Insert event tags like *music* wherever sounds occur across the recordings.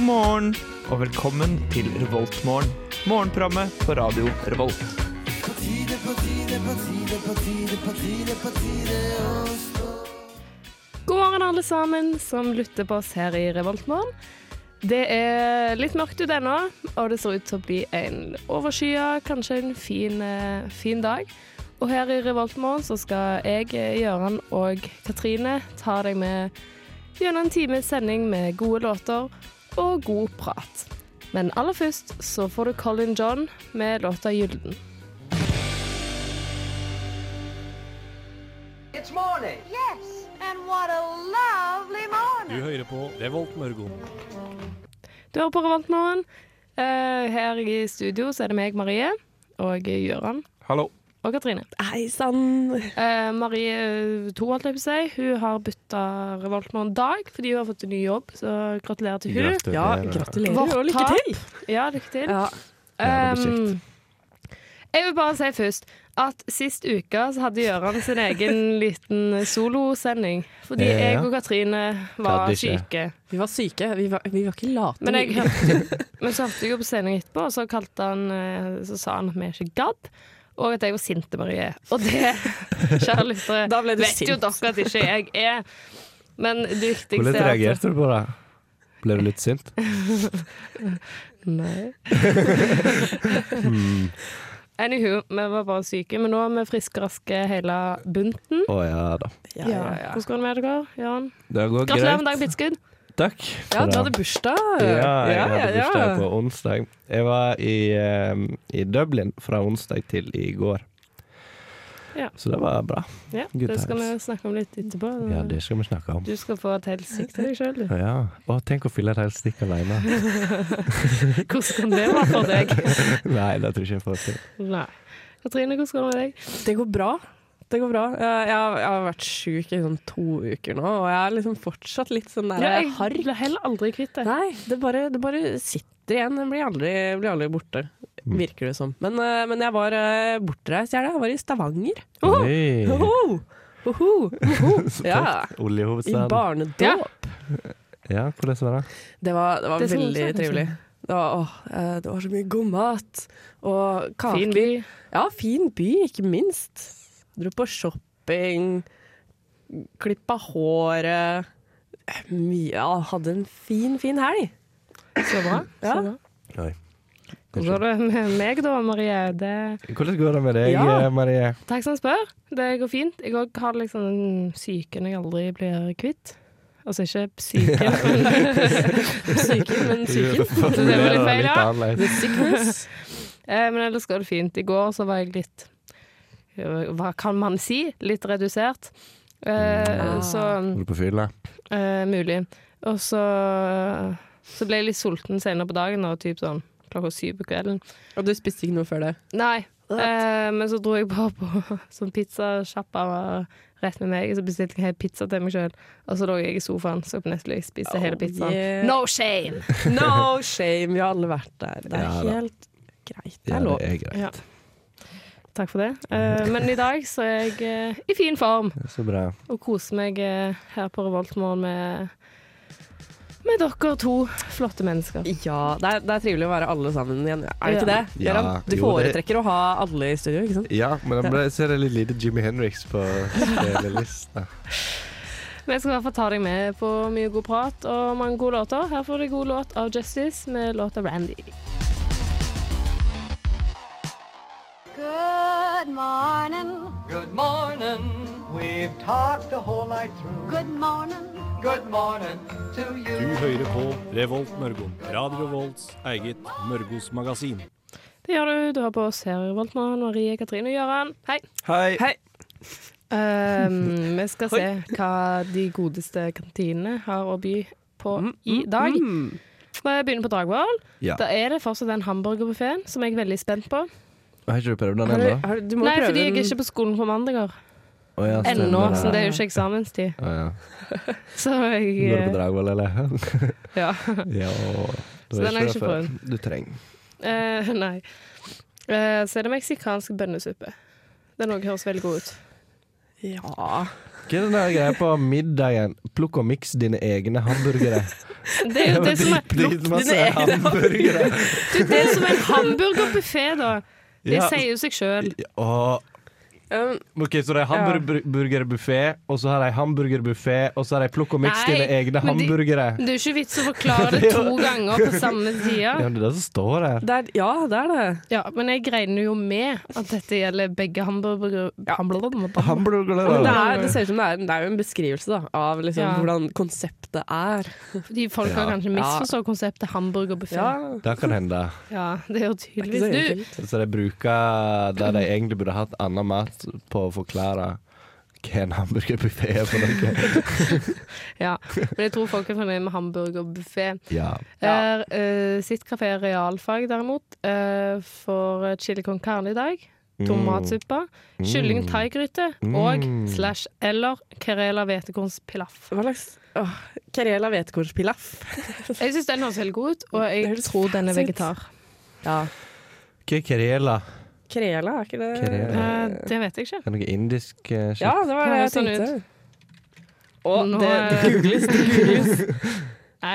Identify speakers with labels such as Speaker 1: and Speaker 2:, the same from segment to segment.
Speaker 1: morgen og velkommen til Revoltmorgen. Morgenprogrammet på radio Revolt.
Speaker 2: God morgen, alle sammen som lytter på oss her i Revoltmorgen. Det er litt mørkt ute ennå, og det ser ut til å bli en overskya, kanskje en fin, eh, fin dag. Og her i Revoltmorgen så skal jeg, eh, Gøran og Katrine ta deg med gjennom en times sending med gode låter og god prat. Men aller først så får du Colin John med låta 'Gylden'.
Speaker 3: It's morning.
Speaker 4: Yes, and what a lovely
Speaker 5: Du
Speaker 4: morning.
Speaker 5: hører på Revolt Mørgon.
Speaker 2: Du hører på Revoltmorgen. Eh, her i studio så er det meg, Marie, og Gøran.
Speaker 1: Hallo.
Speaker 2: og Katrine.
Speaker 6: Hei sann!
Speaker 2: Eh, Marie to, holdt jeg på å si, hun har bytta revolt nå en dag fordi hun har fått en ny jobb, så gratulerer til hun.
Speaker 6: Ja, gratulerer
Speaker 2: Vårt
Speaker 6: og lykke
Speaker 2: tap.
Speaker 6: til!
Speaker 2: Ja, lykke til.
Speaker 6: Ja.
Speaker 1: Ja, det blir kjekt.
Speaker 2: Um, jeg vil bare si først at sist uke så hadde Gøran sin egen
Speaker 1: *laughs*
Speaker 2: liten solosending. Fordi
Speaker 1: Ja.
Speaker 2: jeg og Katrine var
Speaker 1: Hadde ikke.
Speaker 2: syke.
Speaker 6: Vi var syke. Vi var, vi var ikke late.
Speaker 1: *laughs*
Speaker 2: Men, jeg hørte, men så hørte jeg jo på sending etterpå, og så, kalte han, eh, så sa han at vi ikke gadd. Og at jeg var sinte, Marie.
Speaker 1: *laughs*
Speaker 2: Og det, kjære lyttere,
Speaker 6: Da ble du
Speaker 2: vet jo
Speaker 6: sint.
Speaker 2: dere at ikke jeg er. Men det viktigste
Speaker 1: Hvordan
Speaker 2: er at *laughs*
Speaker 1: reagerte du på det? Ble du litt sint?
Speaker 6: Mhm.
Speaker 2: Nei. Mm. Anywho, vi var bare syke, men nå er vi friske og raske hele bunten.
Speaker 1: Å ja da.
Speaker 6: Ja, ja, ja.
Speaker 2: Hvordan går det med dere, Jan?
Speaker 1: Det går
Speaker 2: Gratulerer med
Speaker 1: greit.
Speaker 2: dagen, Bidskudd.
Speaker 1: Takk.
Speaker 6: ja,
Speaker 1: for
Speaker 6: du
Speaker 1: det.
Speaker 6: hadde bursdag.
Speaker 1: Sånn, Ja, jeg
Speaker 6: ja,
Speaker 1: hadde
Speaker 6: ja.
Speaker 1: bursdag på onsdag. Jeg var i, eh, i Dublin fra onsdag til i går.
Speaker 2: Ja.
Speaker 1: Så det var bra.
Speaker 2: Ja,
Speaker 1: Good
Speaker 2: det skal vi
Speaker 1: times.
Speaker 2: snakke om litt etterpå.
Speaker 6: Mm.
Speaker 1: Ja, det skal vi snakke om.
Speaker 2: Du skal få et helt stikk til deg sjøl, du.
Speaker 1: Ja. Å, tenk å fylle et helt stikk
Speaker 6: *laughs*
Speaker 1: alene.
Speaker 2: Hvordan kan det være for
Speaker 1: *laughs*
Speaker 2: deg?
Speaker 1: Nei, det tror jeg ikke jeg får til.
Speaker 2: Nei. Katrine, hvordan går det med deg?
Speaker 6: Det går bra. Det går bra. Jeg, jeg, har- jeg har vært sjuk i sånn to uker nå, og jeg er liksom fortsatt litt sånn der harr.
Speaker 2: ble heller aldri kvitt det.
Speaker 6: Nei, det bare, det bare sitter igjen. Den blir aldri, blir aldri borte,
Speaker 1: Mm.
Speaker 6: virker det som. Men, eh, men jeg var eh, bortreist i helga. Jeg var i Stavanger. Oho!
Speaker 1: Hey.
Speaker 6: Oho! Oho! Oho!
Speaker 1: *laughs*
Speaker 6: Ja. I
Speaker 1: Oljehovedstaden.
Speaker 6: barnedåp.
Speaker 2: Ja.
Speaker 1: Ja, hvordan var det?
Speaker 6: Det var, det var
Speaker 2: Det er sånn
Speaker 6: veldig
Speaker 2: det er, kanskje.
Speaker 6: trivelig. Det var, åh, eh, det var så mye god mat og kaker.
Speaker 2: Fin by.
Speaker 6: Ja, fin by, ikke minst. Dro på shopping, klippa håret. Eh, Mye, ja, hadde en fin, fin helg.
Speaker 2: Så bra. Så
Speaker 6: Ja.
Speaker 2: bra.
Speaker 1: Oi.
Speaker 2: Hvordan går det med meg da, Marie? Det,
Speaker 1: Hvordan går det med deg,
Speaker 6: Ja.
Speaker 1: eh, Marie?
Speaker 2: takk som spør. Det går fint. Jeg òg har liksom den psyken jeg aldri blir kvitt. Altså ikke *laughs* psyken, men
Speaker 1: *laughs*
Speaker 6: Syken, men syken.
Speaker 2: det var litt feil, ja.
Speaker 1: annerledes.
Speaker 6: Sickness.
Speaker 2: Eh, Men ellers går det fint. I går så var jeg litt eh, Hva kan man si? Litt redusert. Eh,
Speaker 6: Mm.
Speaker 2: Så
Speaker 1: Var du på fylla?
Speaker 2: Eh, mulig. Og så, eh, så ble jeg litt sulten senere på dagen, da, typ sånn klokka syv på kvelden.
Speaker 6: *laughs* Og du spiste ikke noe før det?
Speaker 2: Nei, eh, men så dro jeg bare på *laughs* sånn pizzasjappa var rett med meg, så bestilte jeg helt pizza til meg sjøl. Og så lå jeg i sofaen, så på Netflix, spiste hele
Speaker 6: Oh,
Speaker 2: pizzaen.
Speaker 6: yeah.
Speaker 2: No shame!
Speaker 6: No shame, vi har alle vært der. Det er
Speaker 1: Ja da.
Speaker 6: helt greit. Det
Speaker 1: Ja,
Speaker 6: er lov.
Speaker 1: det er greit.
Speaker 2: Ja. Takk for det. Eh, men i dag så er jeg eh, i fin form
Speaker 1: Så bra.
Speaker 2: og koser meg eh, her på Revoltmorgen med med dere to flotte mennesker.
Speaker 6: Ja, det er, det er trivelig å være alle sammen igjen. Er det ikke det?
Speaker 1: Ja.
Speaker 6: Gøran? du
Speaker 1: Jo, det-
Speaker 6: foretrekker å ha alle i studio, ikke sant?
Speaker 1: Ja, men jeg ble, ser det litt lite Jimmy Henriks på spillelista.
Speaker 2: Men jeg skal i hvert fall ta deg med på mye god prat og mange gode låter. Her får du god låt av Justice med låta 'Randy'.
Speaker 4: Good morning.
Speaker 3: Good morning. We've talked the whole night through.
Speaker 4: Good morning.
Speaker 3: Good morning to
Speaker 5: Du
Speaker 3: you.
Speaker 5: hører på Revolt Mørgon. Radio Volts eget Mørgos magasin.
Speaker 2: Det gjør du. Du har på oss her, Voltmann, Marie, Katrine og Gøran. Hei.
Speaker 1: Hei.
Speaker 6: Hei. *laughs*
Speaker 2: Ehm, vi skal se hva de godeste kantinene har å by på i dag.
Speaker 6: Mm.
Speaker 2: Når jeg begynner på Dragvoll,
Speaker 1: Ja.
Speaker 2: da er det fortsatt den hamburgerbuffeen som jeg er veldig spent på.
Speaker 1: Har ikke du prøvd den
Speaker 6: Har du,
Speaker 1: ennå?
Speaker 6: har, du- du må
Speaker 2: Nei,
Speaker 6: prøve
Speaker 2: fordi jeg er
Speaker 6: den.
Speaker 2: ikke på skolen på mandager
Speaker 1: Å ja, stemmer
Speaker 2: ennå,
Speaker 1: det.
Speaker 2: så det er jo ikke eksamenstid.
Speaker 1: Å ja.
Speaker 2: Så
Speaker 1: Går du på
Speaker 2: jeg
Speaker 1: Dragvoll, eller?
Speaker 7: *laughs*
Speaker 2: Ja.
Speaker 1: ja.
Speaker 2: Så den har jeg ikke
Speaker 1: Du trenger.
Speaker 2: Eh, nei. Eh, så er det meksikansk bønnesuppe. Den òg høres veldig god ut.
Speaker 6: Ja.
Speaker 7: Hva er den der greia på middagen? Plukk og miks dine egne hamburgere.
Speaker 2: *laughs* Det
Speaker 1: *laughs*
Speaker 2: er jo det som er,
Speaker 7: Dritmasse hamburgere.
Speaker 2: det er, det som er en hamburgerbuffé, da. Det
Speaker 7: *laughs* Ja.
Speaker 2: sier jo seg sjøl.
Speaker 7: Åh.
Speaker 6: Um,
Speaker 7: Ok, Så det er hamburgerbuffé, og så har de hamburgerbuffé, og så har de plukk og miks
Speaker 2: Nei,
Speaker 7: dine egne
Speaker 2: men de-
Speaker 7: hamburgere.
Speaker 2: Det er jo ikke vits å
Speaker 7: *laughs*
Speaker 2: forklare det to ganger på samme
Speaker 7: Ja,
Speaker 2: tida.
Speaker 7: men det er det som står her.
Speaker 6: det er, ja, det er det.
Speaker 2: Ja, men jeg regner jo med at dette gjelder begge hamburgere... Hamburger.
Speaker 6: Men det,
Speaker 7: Hamburgere.
Speaker 6: er, det ser ut som det er, det er jo en beskrivelse da, av liksom,
Speaker 2: Ja.
Speaker 6: hvordan konseptet er.
Speaker 2: Fordi folk har kanskje misforstått konseptet hamburgerbuffé.
Speaker 6: Ja,
Speaker 2: Ja.
Speaker 7: Det kan hende.
Speaker 2: det er jo
Speaker 6: ikke så
Speaker 2: tydeligvis du.
Speaker 6: enkelt.
Speaker 7: Så de bruker der de egentlig burde hatt annen mat, på å forklare hva en hamburgerbuffé er for noe.
Speaker 2: Ja. Men jeg tror folk er fornøyd med hamburgerbuffé.
Speaker 7: *laughs* Ja.
Speaker 2: Er, eh, sitt kafé er realfag, derimot, eh, for chili con carne i dag.
Speaker 7: Mm.
Speaker 2: Tomatsuppe. Kylling thaigryte. Og slash eller Kerela hvetekorns pilaf.
Speaker 6: Hva slags åh, Karela hvetekornspilaf.
Speaker 2: Jeg syns den høres veldig god ut, og
Speaker 6: Det
Speaker 2: jeg
Speaker 6: høres
Speaker 2: tror den er
Speaker 6: fancy ut.
Speaker 2: vegetar.
Speaker 6: Ja.
Speaker 7: Hva er karela?
Speaker 6: Krela, er ikke det
Speaker 7: Karela.
Speaker 2: Eh, det vet jeg ikke.
Speaker 7: Er det noe indisk eh, shit?
Speaker 6: Ja, det var det jeg
Speaker 2: Det høres
Speaker 6: tenkte.
Speaker 2: sånn
Speaker 6: Og
Speaker 2: Nå-
Speaker 6: det googles, det googles.
Speaker 2: Nei,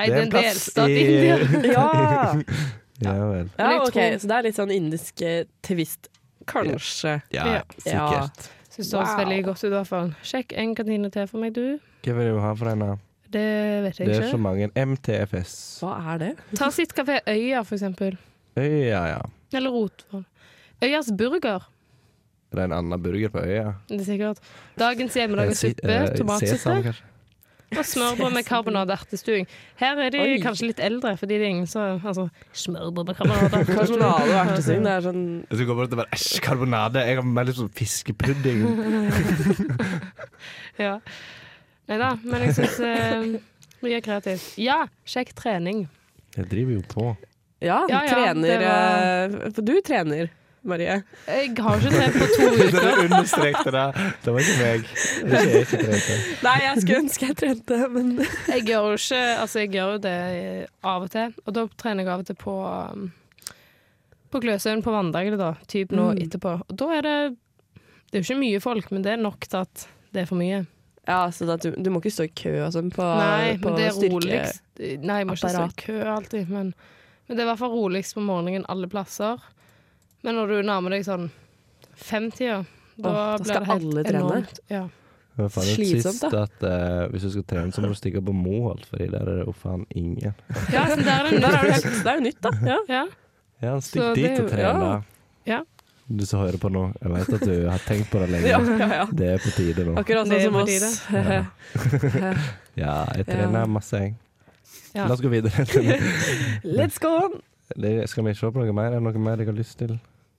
Speaker 7: Det er
Speaker 2: det
Speaker 7: en
Speaker 2: er en
Speaker 7: plass
Speaker 2: delstat
Speaker 7: i-
Speaker 2: India.
Speaker 6: Ja.
Speaker 7: *laughs* Ja vel.
Speaker 6: ja,
Speaker 2: Men jeg
Speaker 6: OK,
Speaker 2: tror-
Speaker 6: så det er litt sånn indisk eh, twist, kanskje.
Speaker 7: Ja,
Speaker 2: Ja.
Speaker 7: sikkert.
Speaker 2: Syns det høres
Speaker 6: Wow.
Speaker 2: veldig godt ut, i hvert fall. Sjekk en kantine til for meg, du.
Speaker 7: Hva vil du ha for en? da?
Speaker 2: Det vet jeg
Speaker 7: Det er så
Speaker 2: ikke.
Speaker 7: mange. MTFS.
Speaker 6: Hva er det?
Speaker 2: Ta sitt kafé Øya, for eksempel.
Speaker 7: Øya, ja.
Speaker 2: Eller Rotvoll. Øyas burger.
Speaker 7: Er det en annen burger på øya?
Speaker 2: Det er sikkert. Dagens hjemmelagde
Speaker 7: Si-
Speaker 2: suppe,
Speaker 7: eh, sesam,
Speaker 2: tomatsuppe
Speaker 7: kanskje?
Speaker 2: og smørbrød med karbonadeertestuing. Her er de
Speaker 6: Oi.
Speaker 2: kanskje litt eldre, fordi det er ingen som Altså,
Speaker 7: *laughs*
Speaker 2: smørbrød med karbonadeertestuing.
Speaker 6: *laughs* Karbonade og ertesyn, det er sånn
Speaker 7: Jeg skal gå bort og bare Æsj, karbonade! Jeg har mer lyst på fiskepudding. *laughs*
Speaker 2: Ja. Nei da, men jeg syns eh, mye er kreativt. Ja, sjekk trening.
Speaker 7: Jeg driver jo på.
Speaker 6: Ja,
Speaker 2: Ja, ja,
Speaker 6: trener
Speaker 2: det var-
Speaker 6: eh, For du trener, Marie.
Speaker 2: Jeg har ikke trent på to uker.
Speaker 7: Dere understrekte det. Det var ikke meg. Det er ikke jeg som trente.
Speaker 6: Nei, jeg skulle ønske jeg trente, men
Speaker 2: Jeg gjør jo ikke Altså, jeg gjør jo det eh, av og til, og da trener jeg av og til på um, På Gløshaugen på vanndagene, da. Typ nå
Speaker 6: Mm.
Speaker 2: etterpå. Og da er det Det er jo ikke mye folk, men det er nok til at det er for mye.
Speaker 6: Ja, så da, du, du må ikke stå i kø og sånn på,
Speaker 2: Nei,
Speaker 6: på
Speaker 2: men det er
Speaker 6: styrke-
Speaker 2: roligst Nei, jeg må ikke stå i
Speaker 6: apparat.
Speaker 2: kø alltid, men, men det er i hvert fall roligst på morgenen alle plasser. Men når du nærmer deg sånn femtida, da,
Speaker 6: Åh, da
Speaker 2: blir
Speaker 6: skal
Speaker 2: det helt
Speaker 6: alle trene.
Speaker 2: enormt. Ja.
Speaker 7: Jeg fant ut
Speaker 6: Slitsomt,
Speaker 7: sist at eh, hvis du skal trene, så må du stikke på Moholt, fordi der er det jo faen ingen.
Speaker 2: *laughs* ja, så der er det
Speaker 6: Der er *laughs* det,
Speaker 2: nytt.
Speaker 6: helt, det er jo nytt, da. Ja.
Speaker 2: Ja.
Speaker 7: Ja, han
Speaker 2: Så
Speaker 7: stikk
Speaker 2: det
Speaker 7: dit
Speaker 2: er
Speaker 7: og
Speaker 2: jo-
Speaker 7: tren, da.
Speaker 2: ja.
Speaker 7: Du som hører på nå, jeg vet at du har tenkt på det lenge.
Speaker 6: Ja, ja, ja.
Speaker 7: Det er på tide nå.
Speaker 6: Akkurat
Speaker 2: Det
Speaker 6: sånn
Speaker 2: er
Speaker 6: som
Speaker 2: på
Speaker 6: oss.
Speaker 7: Ja, jeg trener
Speaker 6: Ja.
Speaker 7: masse, jeg.
Speaker 2: Ja.
Speaker 7: La oss gå videre. *laughs*
Speaker 6: Let's go on!
Speaker 7: Det, skal vi se på noe mer? Er det noe mer jeg har lyst til?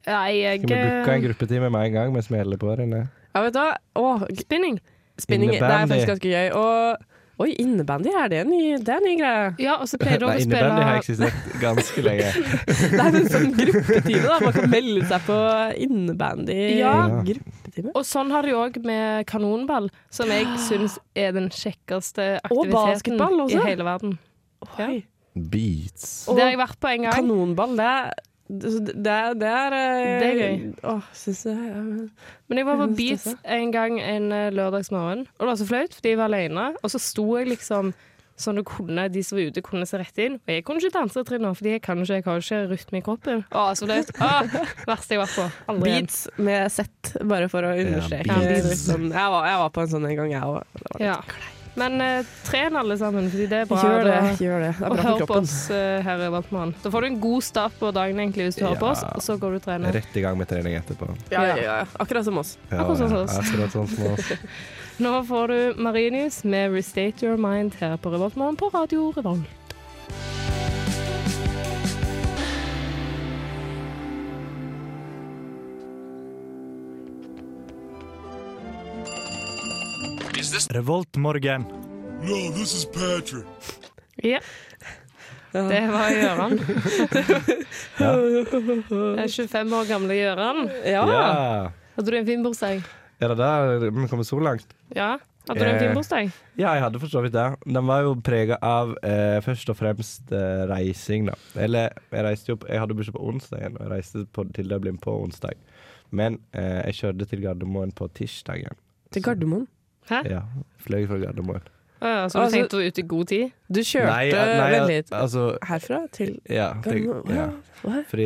Speaker 2: Nei, jeg
Speaker 7: Skal vi booke en
Speaker 2: eh,
Speaker 7: gruppetime med en gang mens vi holder på her inne?
Speaker 6: Ja, vet du hva? Åh,
Speaker 2: Spinning.
Speaker 6: spinning det er
Speaker 7: Innebandy.
Speaker 6: faktisk ganske gøy. Og oi, innebandy, er det en ny, det er en ny greie? *laughs*
Speaker 2: Ja, og så pleier du å
Speaker 7: Nei, innebandy har
Speaker 2: spille
Speaker 7: eksistert ganske
Speaker 2: *laughs*
Speaker 7: lenge.
Speaker 6: Det er en sånn gruppetime, da. Man kan melde seg på
Speaker 2: Ja.
Speaker 6: innebandy-gruppetime.
Speaker 2: Og sånn har de òg med kanonball, som jeg syns er den kjekkeste
Speaker 6: Og
Speaker 2: aktiviteten
Speaker 6: basketball også.
Speaker 2: i hele verden. Ja.
Speaker 6: Oi.
Speaker 7: Beats.
Speaker 6: Og
Speaker 2: det har jeg vært på en gang.
Speaker 6: Kanonball, det er det er, det er, eh,
Speaker 2: Det er
Speaker 6: Åh, synes jeg ja.
Speaker 2: Men jeg var på
Speaker 6: Jeg synes
Speaker 2: Beats
Speaker 6: det
Speaker 2: en gang en eh, lørdagsmorgen, og det var så flaut, fordi jeg var alene. Og så sto jeg liksom sånn du kunne, de som var ute, kunne se rett inn. Og jeg kunne ikke danse til nå, fordi jeg kan ikke, jeg har ikke rytme i kroppen. Å, så flaut. Å, Verste jeg har vært på. Aldri igjen.
Speaker 6: Beats med sett, bare for å understreke.
Speaker 7: Ja,
Speaker 2: beats.
Speaker 6: litt sånn, jeg, var, jeg var på en sånn en gang, jeg òg.
Speaker 2: Ja. Men eh, tren alle sammen, fordi det er bra.
Speaker 6: Gjør det.
Speaker 2: da-
Speaker 6: gjør det. Det er
Speaker 2: Og
Speaker 6: bra
Speaker 2: hør
Speaker 6: for
Speaker 2: på
Speaker 6: kroppen.
Speaker 2: oss eh, her i Valtmann. Da får du en god start på dagen egentlig hvis du hører på oss,
Speaker 7: Ja.
Speaker 2: og så går du og trener.
Speaker 7: Rett i gang med trening etterpå.
Speaker 6: Ja, ja, ja. Akkurat som oss.
Speaker 7: Ja,
Speaker 2: Akkurat sånn som oss.
Speaker 7: akkurat sånn som oss.
Speaker 2: Nå får du Marinius med 'Restate Your Mind' her på Revoltmann på Radio Revolt.
Speaker 1: Revoltmorgen.
Speaker 2: Ja. Det var
Speaker 7: *laughs*
Speaker 2: Gøran. Det er 25 år gamle Gøran.
Speaker 6: Ja.
Speaker 7: Ja.
Speaker 2: Hadde du en fin bursdag?
Speaker 7: Er det der vi kommer så langt?
Speaker 2: Ja. Hadde du en
Speaker 7: Eh.
Speaker 2: fin bursdag?
Speaker 7: Ja, jeg hadde for så vidt det. Den var jo prega av eh, først og fremst eh, reising, da. Eller, jeg reiste jo på, Jeg hadde bursdag på onsdagen, og jeg reiste på, til Dublin på onsdag. Men eh, jeg kjørte til Gardermoen på tirsdagen.
Speaker 6: Til Gardermoen.
Speaker 7: Ja, fløy fra Gardermoen.
Speaker 2: Å ja, så du
Speaker 6: Altså-
Speaker 2: tenkte ut i god tid?
Speaker 6: Du kjørte
Speaker 7: Nei, nei,
Speaker 6: veldig hit.
Speaker 7: altså
Speaker 6: Herfra til
Speaker 7: ja, tenk,
Speaker 6: Gardermoen?
Speaker 7: ja.
Speaker 6: Hva?
Speaker 7: Fordi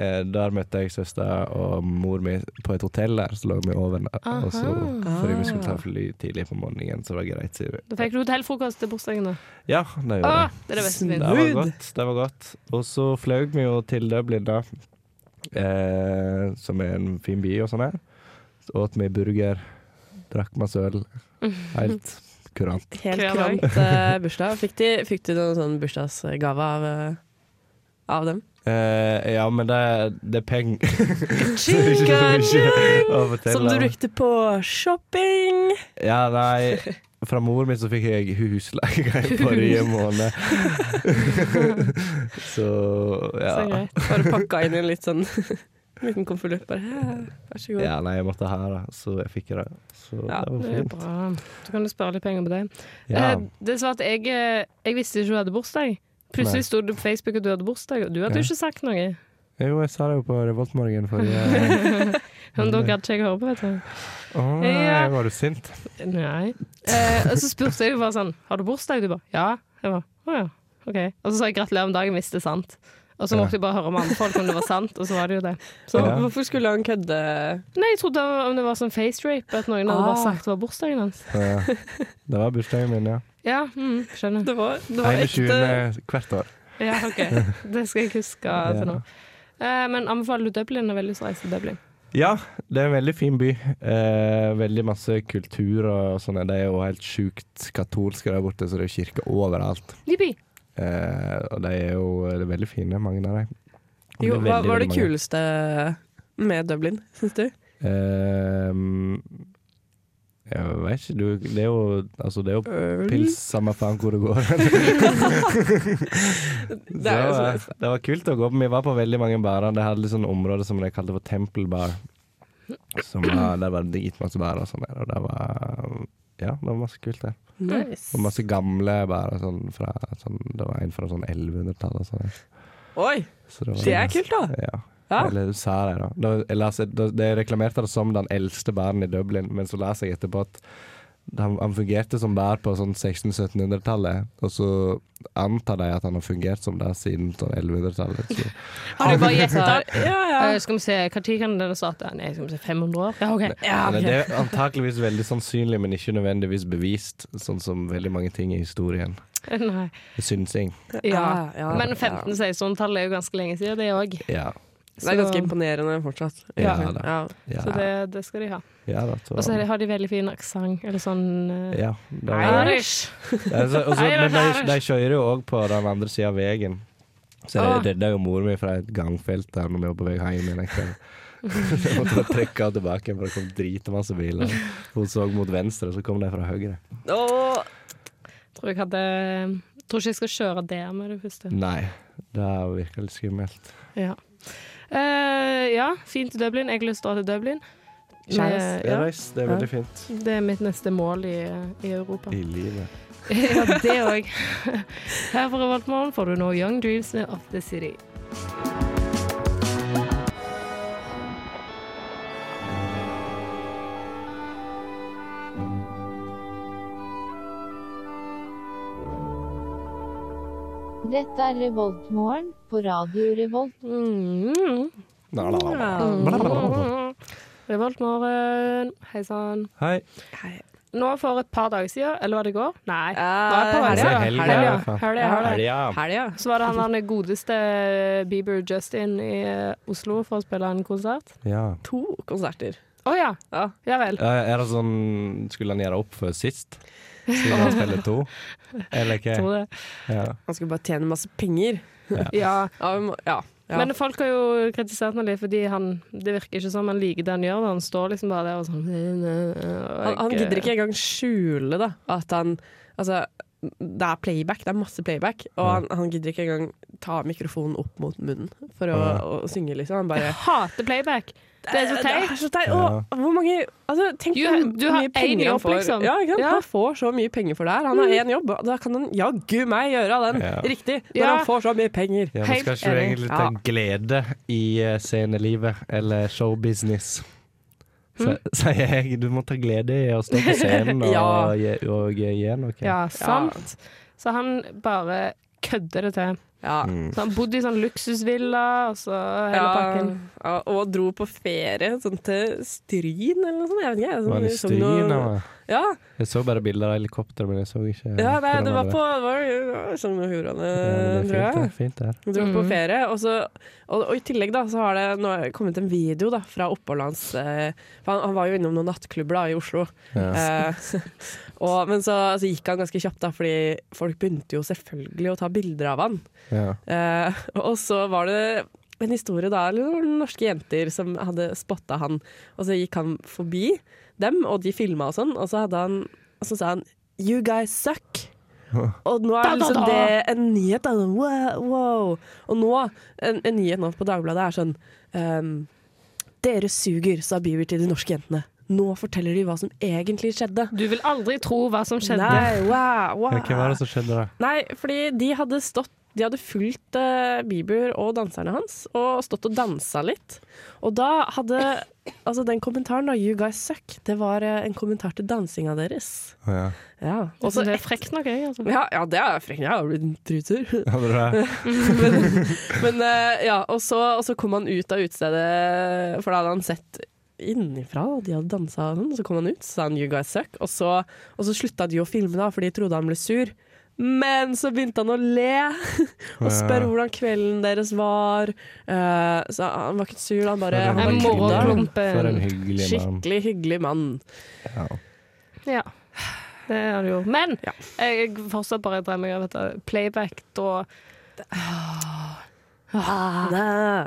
Speaker 7: eh, der møtte jeg søster og mor mi på et hotell der, så lå vi over. da.
Speaker 2: Aha.
Speaker 7: Og så, fordi vi skulle ta fly tidlig på morgenen, så var det greit. sier vi.
Speaker 2: Da fikk du hotellfrokost til bursdagen, da.
Speaker 7: Ja, det gjorde
Speaker 2: Å,
Speaker 7: jeg.
Speaker 2: det er det beste med
Speaker 7: Det var godt. det var godt Og så fløy vi jo til Dublin, da, eh, som er en fin by og sånn her. Så åt vi burger, drakk masse øl. Helt kurant.
Speaker 6: Helt
Speaker 2: Kreativ.
Speaker 6: kurant eh, bursdag. Fikk, de, fikk du noen sånn bursdagsgave av, eh, av
Speaker 7: *laughs*
Speaker 6: dem?
Speaker 7: Eh, ja, men det, det er *laughs* penger.
Speaker 6: Som du brukte på shopping!
Speaker 7: Ja, nei Fra mor min så fikk jeg husleie i forrige måned. så ja.
Speaker 2: Så greit.
Speaker 6: Bare pakka inn i en litt sånn *laughs* liten konvolutt. Bare «Her, vær så god.
Speaker 7: ja, nei, jeg måtte her, da, så jeg fikk det. Så
Speaker 6: Ja,
Speaker 7: det var
Speaker 2: Det er
Speaker 7: fint.
Speaker 2: bra. Så kan du spare litt penger på det.
Speaker 7: Ja.
Speaker 2: Eh, det er svart, jeg, eh, jeg visste ikke du hadde bursdag. Plutselig
Speaker 7: Nei.
Speaker 2: sto det på Facebook at du hadde bursdag, og du hadde
Speaker 7: Ja.
Speaker 2: jo ikke sagt noe.
Speaker 7: Jo, jeg sa det jo på Revoltmorgen forrige
Speaker 2: Men da gadd ikke jeg høre på, vet du.
Speaker 7: Å, nei,
Speaker 2: Ja.
Speaker 7: var du sint?
Speaker 2: Nei. Eh, og så spurte jeg jo bare sånn Har du bursdag? Du bare ja. Jeg bare, å ja. OK. Og så sa jeg gratulerer med dagen hvis det er sant. Og så måtte jeg bare høre med andre folk om det var sant, og så var det jo det.
Speaker 6: Så
Speaker 7: Ja.
Speaker 6: hvorfor skulle han kødde?
Speaker 2: Nei, jeg trodde om det var sånn face rape, at noen hadde bare
Speaker 6: Ah.
Speaker 2: sagt det var bursdagen hans.
Speaker 7: Ja. Det var bursdagen min, ja.
Speaker 2: Ja, mm, skjønner.
Speaker 6: Det var, det var eh,
Speaker 7: 21.
Speaker 6: ekte
Speaker 7: hvert år.
Speaker 2: Ja, OK. Det skal jeg huske
Speaker 7: Ja.
Speaker 2: til nå. Eh, men anbefaler du Dublin? Jeg har veldig lyst til å reise til Dublin.
Speaker 7: Ja, det er en veldig fin by. Eh, veldig masse kultur og sånn. Det er jo helt sjukt katolske der borte, så det er jo kirke overalt.
Speaker 2: Jippi!
Speaker 7: Eh, og de er jo eh, veldig fine, mange av dem. Og
Speaker 6: Jo,
Speaker 7: er veldig,
Speaker 6: hva var det
Speaker 7: veldig mange.
Speaker 6: kuleste med Dublin, syns du?
Speaker 7: Eh, jeg vet ikke, du Det er jo, altså, det er jo pils, samme faen hvor det
Speaker 6: *laughs*
Speaker 7: går. *laughs*
Speaker 6: Det
Speaker 7: det,
Speaker 6: er jo
Speaker 7: var,
Speaker 6: sånn.
Speaker 7: det var kult å gå på. Vi var på veldig mange barer. De hadde litt sånn område som de kalte for tempelbar. Som var, der var det dritmasse barer og sånn der, og det var Ja, det var masse kult der.
Speaker 6: Nice.
Speaker 7: Og masse gamle barer sånn fra sånn, Det var en fra sånn 1100-tallet og sånn. der.
Speaker 6: Oi,
Speaker 7: Så det, var
Speaker 6: det er
Speaker 7: masse-
Speaker 6: kult, da!
Speaker 7: Ja.
Speaker 6: Ja.
Speaker 7: Eller sa de, da. da jeg las, da de reklamerte det som den eldste baren i Dublin, men så leser jeg etterpå at han, han fungerte som bar på sånn 1600-1700-tallet, og så antar de at han har fungert som det siden sånn 1100-tallet. Så.
Speaker 2: Har du bare gjetta?
Speaker 6: Ja, ja.
Speaker 2: Eh, skal vi se, Når kan denne starte? Nei, skal vi se, 500 år? Ja, OK.
Speaker 6: ja
Speaker 7: Men
Speaker 6: ok.
Speaker 7: Det er antakeligvis veldig sannsynlig, men ikke nødvendigvis bevist, sånn som veldig mange ting i historien.
Speaker 2: Nei.
Speaker 7: Synsing.
Speaker 2: Ja.
Speaker 6: ja,
Speaker 2: Men
Speaker 6: Ah, ja.
Speaker 2: 1500-1600-tallet er jo ganske lenge siden, det òg.
Speaker 7: Ja.
Speaker 6: Det er ganske imponerende fortsatt.
Speaker 7: Ja, da. Ja,
Speaker 2: Så det, det skal de ha.
Speaker 7: ja da. så-
Speaker 2: Og så har de veldig fin aksent, eller sånn eh,
Speaker 7: Ja. Det var,
Speaker 2: Irish.
Speaker 7: Ja, så- og så-
Speaker 2: Nei,
Speaker 7: men
Speaker 2: det er-
Speaker 7: de, de kjører jo òg på den andre sida av veien. Så
Speaker 2: Ah.
Speaker 7: jeg redda jo mora mi fra et gangfelt der når vi var på vei hjem igjen en kveld. Så måtte jeg trekke henne tilbake, for det kom dritmasse biler. Hun så mot venstre, så kom de fra høyre.
Speaker 6: Åh,
Speaker 2: Tror jeg hadde eh, Tror ikke jeg skal kjøre der med det første.
Speaker 6: Mm.
Speaker 7: Nei, det virker litt skummelt.
Speaker 2: Ja. Eh, ja, fint til Dublin. Jeg har lyst til å dra til Dublin.
Speaker 6: Kjæreste.
Speaker 2: Med- ja,
Speaker 7: Reis, det er veldig fint.
Speaker 2: det er mitt neste mål i, eh, i Europa.
Speaker 7: I livet.
Speaker 2: ja, det òg. *laughs* Her på Revoltmorgen får du nå Young Dreams med Up The City.
Speaker 8: Dette er Revoltmorgen på Radio Revolt.
Speaker 2: Mm.
Speaker 7: Bla, bla, bla.
Speaker 2: Revoltmorgen. Hei sann.
Speaker 7: Hei.
Speaker 2: Nå for et par dager siden, eller var det i går? Nei.
Speaker 6: Eh,
Speaker 2: Nå er det et par
Speaker 7: det Ah,
Speaker 2: dager
Speaker 7: er
Speaker 2: siden.
Speaker 7: helga,
Speaker 2: Helga.
Speaker 7: i hvert fall.
Speaker 2: Helga, helga.
Speaker 7: Helga.
Speaker 6: Helga.
Speaker 2: Så var det han der godeste eh, Bieber Justin i eh, Oslo for å spille en konsert.
Speaker 7: Ja.
Speaker 6: To konserter.
Speaker 2: Å ja.
Speaker 6: Ja.
Speaker 2: Ja vel.
Speaker 7: Eh, Er det sånn Skulle han gjøre opp for sist? Siden han spiller to? Eller hva?
Speaker 2: Tror det.
Speaker 7: Ja.
Speaker 6: Han skulle bare tjene masse penger.
Speaker 2: Ja.
Speaker 6: Ja, vi må, ja. ja.
Speaker 2: Men folk har jo kritisert meg litt, fordi han, det virker ikke som han liker det han gjør. da. Han står liksom bare der og sånn
Speaker 6: han, han gidder ikke engang skjule da, at han Altså, det er playback. Det er masse playback. Og han, han gidder ikke engang ta mikrofonen opp mot munnen for å, å synge, liksom. Han bare
Speaker 2: Jeg hater playback. Det er så
Speaker 6: Det er
Speaker 2: teit.
Speaker 6: så teit. Og hvor mange altså, Tenk
Speaker 2: Du-
Speaker 6: hvor
Speaker 2: du har
Speaker 6: mye
Speaker 2: én
Speaker 6: penger
Speaker 2: jobb,
Speaker 6: han får.
Speaker 2: liksom.
Speaker 6: Ja, ikke sant?
Speaker 2: Ja. Mm.
Speaker 6: Han får så mye penger for det her. Han har én jobb, og da kan han jaggu meg gjøre den
Speaker 7: Ja.
Speaker 6: riktig. Når
Speaker 2: Ja.
Speaker 6: han får så mye penger.
Speaker 7: Ja,
Speaker 2: Helt
Speaker 7: men skal ikke du
Speaker 2: enig.
Speaker 7: egentlig ta
Speaker 6: Ja.
Speaker 7: glede i eh, scenelivet eller showbusiness? Så- Sier jeg du må ta glede i å stå på scenen og,
Speaker 6: Ja.
Speaker 7: gi- og gi gi noe.
Speaker 2: Ja, sant. Så han bare kødder det til.
Speaker 6: Ja.
Speaker 7: Mm.
Speaker 2: Så han bodde i sånn luksusvilla, og så hele pakken.
Speaker 6: ja, og dro på ferie sånn til Stryn eller noe sånt. Jeg vet ikke.
Speaker 7: Var
Speaker 6: jeg, Sånn,
Speaker 7: det
Speaker 6: som
Speaker 7: stryn
Speaker 6: noe-
Speaker 7: eller?
Speaker 6: Ja,
Speaker 7: Jeg så bare bilder av helikopter, men jeg så ikke
Speaker 6: ja nei,
Speaker 7: hvordan
Speaker 6: det var
Speaker 7: det
Speaker 6: på det var, jo- det var Sogn og Fjordane,
Speaker 7: Ja, men det
Speaker 6: tror
Speaker 7: er fint,
Speaker 6: jeg.
Speaker 7: det. Fint det.
Speaker 6: Vi dro på
Speaker 2: Mm.
Speaker 6: ferie, og, så, og, og i tillegg da, så har det nå har det kommet en video da, fra oppholdet hans. Eh, for han, han var jo innom noen nattklubber da, i Oslo. Eh, *laughs* og, men så, så gikk han ganske kjapt, da, fordi folk begynte jo selvfølgelig å ta bilder av han.
Speaker 7: Ja.
Speaker 6: Eh, *laughs* og så var det en historie da, eller noen norske jenter som hadde spotta han, og så gikk han forbi dem, og de filma og sånn, og så, hadde han, og så sa han 'You guys suck'. Og nå er liksom det en nyhet. Da. Wow, wow. Og nå, en, en nyhet nå på Dagbladet er sånn ehm, Dere suger, sa Bieber til de norske jentene. Nå forteller de hva som egentlig skjedde.
Speaker 2: Du vil aldri tro hva som skjedde.
Speaker 6: Nei, wow, wow.
Speaker 7: Ja, Hva var det som skjedde da?
Speaker 6: Nei, fordi de hadde stått de hadde fulgt eh, Bieber og danserne hans og stått og dansa litt. Og da hadde Altså, den kommentaren, da, 'You guys suck', det var eh, en kommentar til dansinga deres.
Speaker 7: Å, Ja.
Speaker 6: Ja.
Speaker 2: Og så
Speaker 6: Også-
Speaker 2: det er frekt nok, jeg. Altså.
Speaker 6: ja, ja, det er frekt. Jeg har blitt en trutur.
Speaker 7: Hadde du det?
Speaker 6: Men *laughs* eh, ja, og så, og så kom han ut av utestedet, for da hadde han sett innenfra, og de hadde dansa og sånn. Så kom han ut, så sa han 'you guys suck', og så, og så slutta de å filme, da, for de trodde han ble sur. Men så begynte han å le *laughs* og spørre hvordan kvelden deres var. Eh, så han var ikke sur, han bare,
Speaker 7: For
Speaker 6: han
Speaker 2: en
Speaker 6: bare
Speaker 2: hyggelig
Speaker 6: kødda.
Speaker 2: mann.
Speaker 7: For en hyggelig mann.
Speaker 6: Skikkelig hyggelig mann.
Speaker 2: Ja. Det har du gjort. Men
Speaker 6: Ja.
Speaker 2: jeg fortsatt bare dreier meg over dette playback da
Speaker 6: Nei,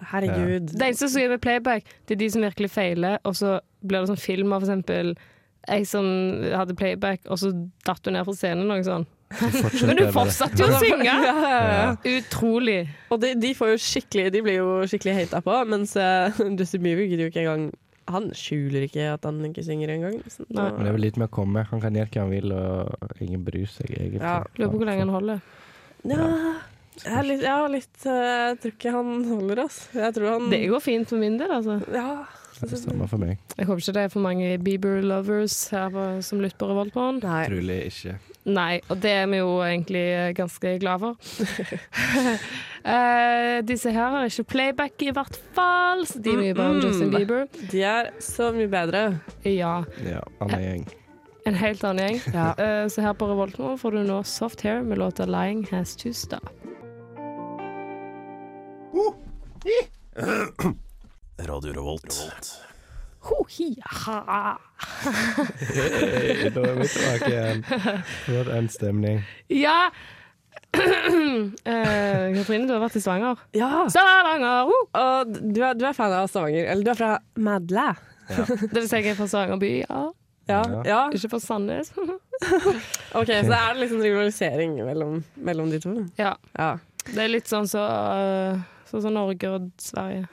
Speaker 6: herregud.
Speaker 2: Det eneste som gjør med playback, det er de som virkelig feiler, og så blir det sånn film av for eksempel ei som hadde playback, og så datt hun ned fra scenen eller noe sånt. Men du fortsatte jo å *laughs* synge! Utrolig.
Speaker 6: Og de, de får jo skikkelig De blir jo skikkelig hata på, mens eh, Justin Bieber gidder jo ikke engang Han skjuler ikke at han ikke synger engang. Så-
Speaker 2: Nei.
Speaker 7: Men det er vel litt med å komme. Han kan gjøre hva han vil, og ingen bryr seg egentlig.
Speaker 6: Ja.
Speaker 2: Lurer på hvor lenge han holder.
Speaker 6: Ja, jeg er litt, ja, litt eh, Jeg tror ikke han holder, ass. Jeg tror han
Speaker 2: Det går fint for min del, altså.
Speaker 6: Ja.
Speaker 7: Det stemmer for meg.
Speaker 2: Jeg håper ikke det er for mange Bieber-lovers her på- som lytter på Revoltmorgen.
Speaker 6: Nei.
Speaker 7: Trolig ikke.
Speaker 2: Nei, og det er vi jo egentlig eh, ganske glad for. Eh, disse her har ikke playback i hvert fall, så de er mye bedre enn Justin
Speaker 6: Mm.
Speaker 2: Bieber.
Speaker 6: De er så mye bedre.
Speaker 2: Ja,
Speaker 7: Ja, han er *laughs* gjeng.
Speaker 2: en helt annen gjeng. Eh, så her på Revoltmorgen får du nå Soft Hair med låta 'Lying Has To Stop'.
Speaker 9: *coughs* Radio Revolt.
Speaker 2: Ho, hi, ha.
Speaker 7: Da er vi tilbake igjen. For en stemning.
Speaker 2: Ja! *coughs* Eh, Katrine, du har vært i Stavanger.
Speaker 6: Ja.
Speaker 2: Stavanger! ho!
Speaker 6: Og du er, du er fan av Stavanger. Eller du er fra Madla.
Speaker 2: Det vil si jeg er fra Stavanger by, ja.
Speaker 6: Ja. ja.
Speaker 2: Ikke fra Sandnes. *laughs*
Speaker 6: OK, så det er liksom rivalisering mellom, mellom de to.
Speaker 2: ja.
Speaker 6: Ja.
Speaker 2: Det er litt sånn så, eh, sånn som Norge og Sverige.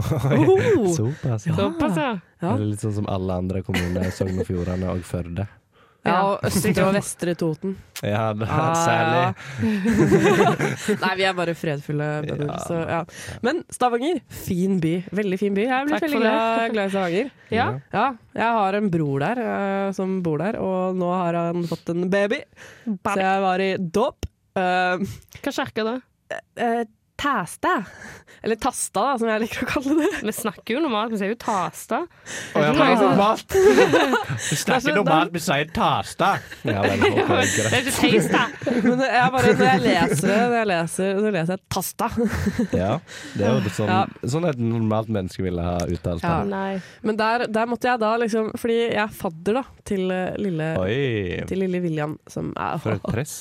Speaker 2: Ah.
Speaker 6: Oh,
Speaker 7: Såpass.
Speaker 2: Såpass, ja.
Speaker 6: Ja.
Speaker 7: Er det litt sånn som alle andre kommuner i Sogn og Fjordane og Førde?
Speaker 6: ja, og Østre og Vestre Toten.
Speaker 7: Ja, *laughs* det er
Speaker 6: Ah.
Speaker 7: særlig.
Speaker 6: *laughs* Nei, vi er bare fredfulle bønder. Så, ja. Men Stavanger, fin by. Veldig fin by. Jeg blir
Speaker 2: Takk
Speaker 6: veldig
Speaker 2: for det.
Speaker 6: glad, glad i Stavanger.
Speaker 2: ja.
Speaker 6: Ja, jeg har en bror der eh, som bor der, og nå har han fått en baby. Så jeg var i dåp. Uh,
Speaker 2: Hva kirke da?
Speaker 6: Tæste. Eller Tasta, da, som jeg liker å kalle det.
Speaker 2: Vi snakker jo normalt, vi sier jo Tasta.
Speaker 7: Å, ja, men det er så
Speaker 6: *laughs*
Speaker 7: normalt. *laughs* Vi
Speaker 6: Altså,
Speaker 7: snakker normalt, vi sier tasta. Ja, vel, håper jeg ikke
Speaker 2: Det
Speaker 6: *laughs*
Speaker 7: det.
Speaker 2: er ikke Teista.
Speaker 6: Men jeg bare, når jeg leser det, når jeg leser, så leser jeg Tasta.
Speaker 7: Ja, det er jo sånn,
Speaker 6: Ja.
Speaker 7: sånn et normalt menneske ville ha uttalt det.
Speaker 6: Ja.
Speaker 2: Nei.
Speaker 6: Men der, der måtte jeg da liksom Fordi jeg er fadder, da, til eh, lille,
Speaker 7: Oi,
Speaker 6: til lille William, som er
Speaker 7: for et press.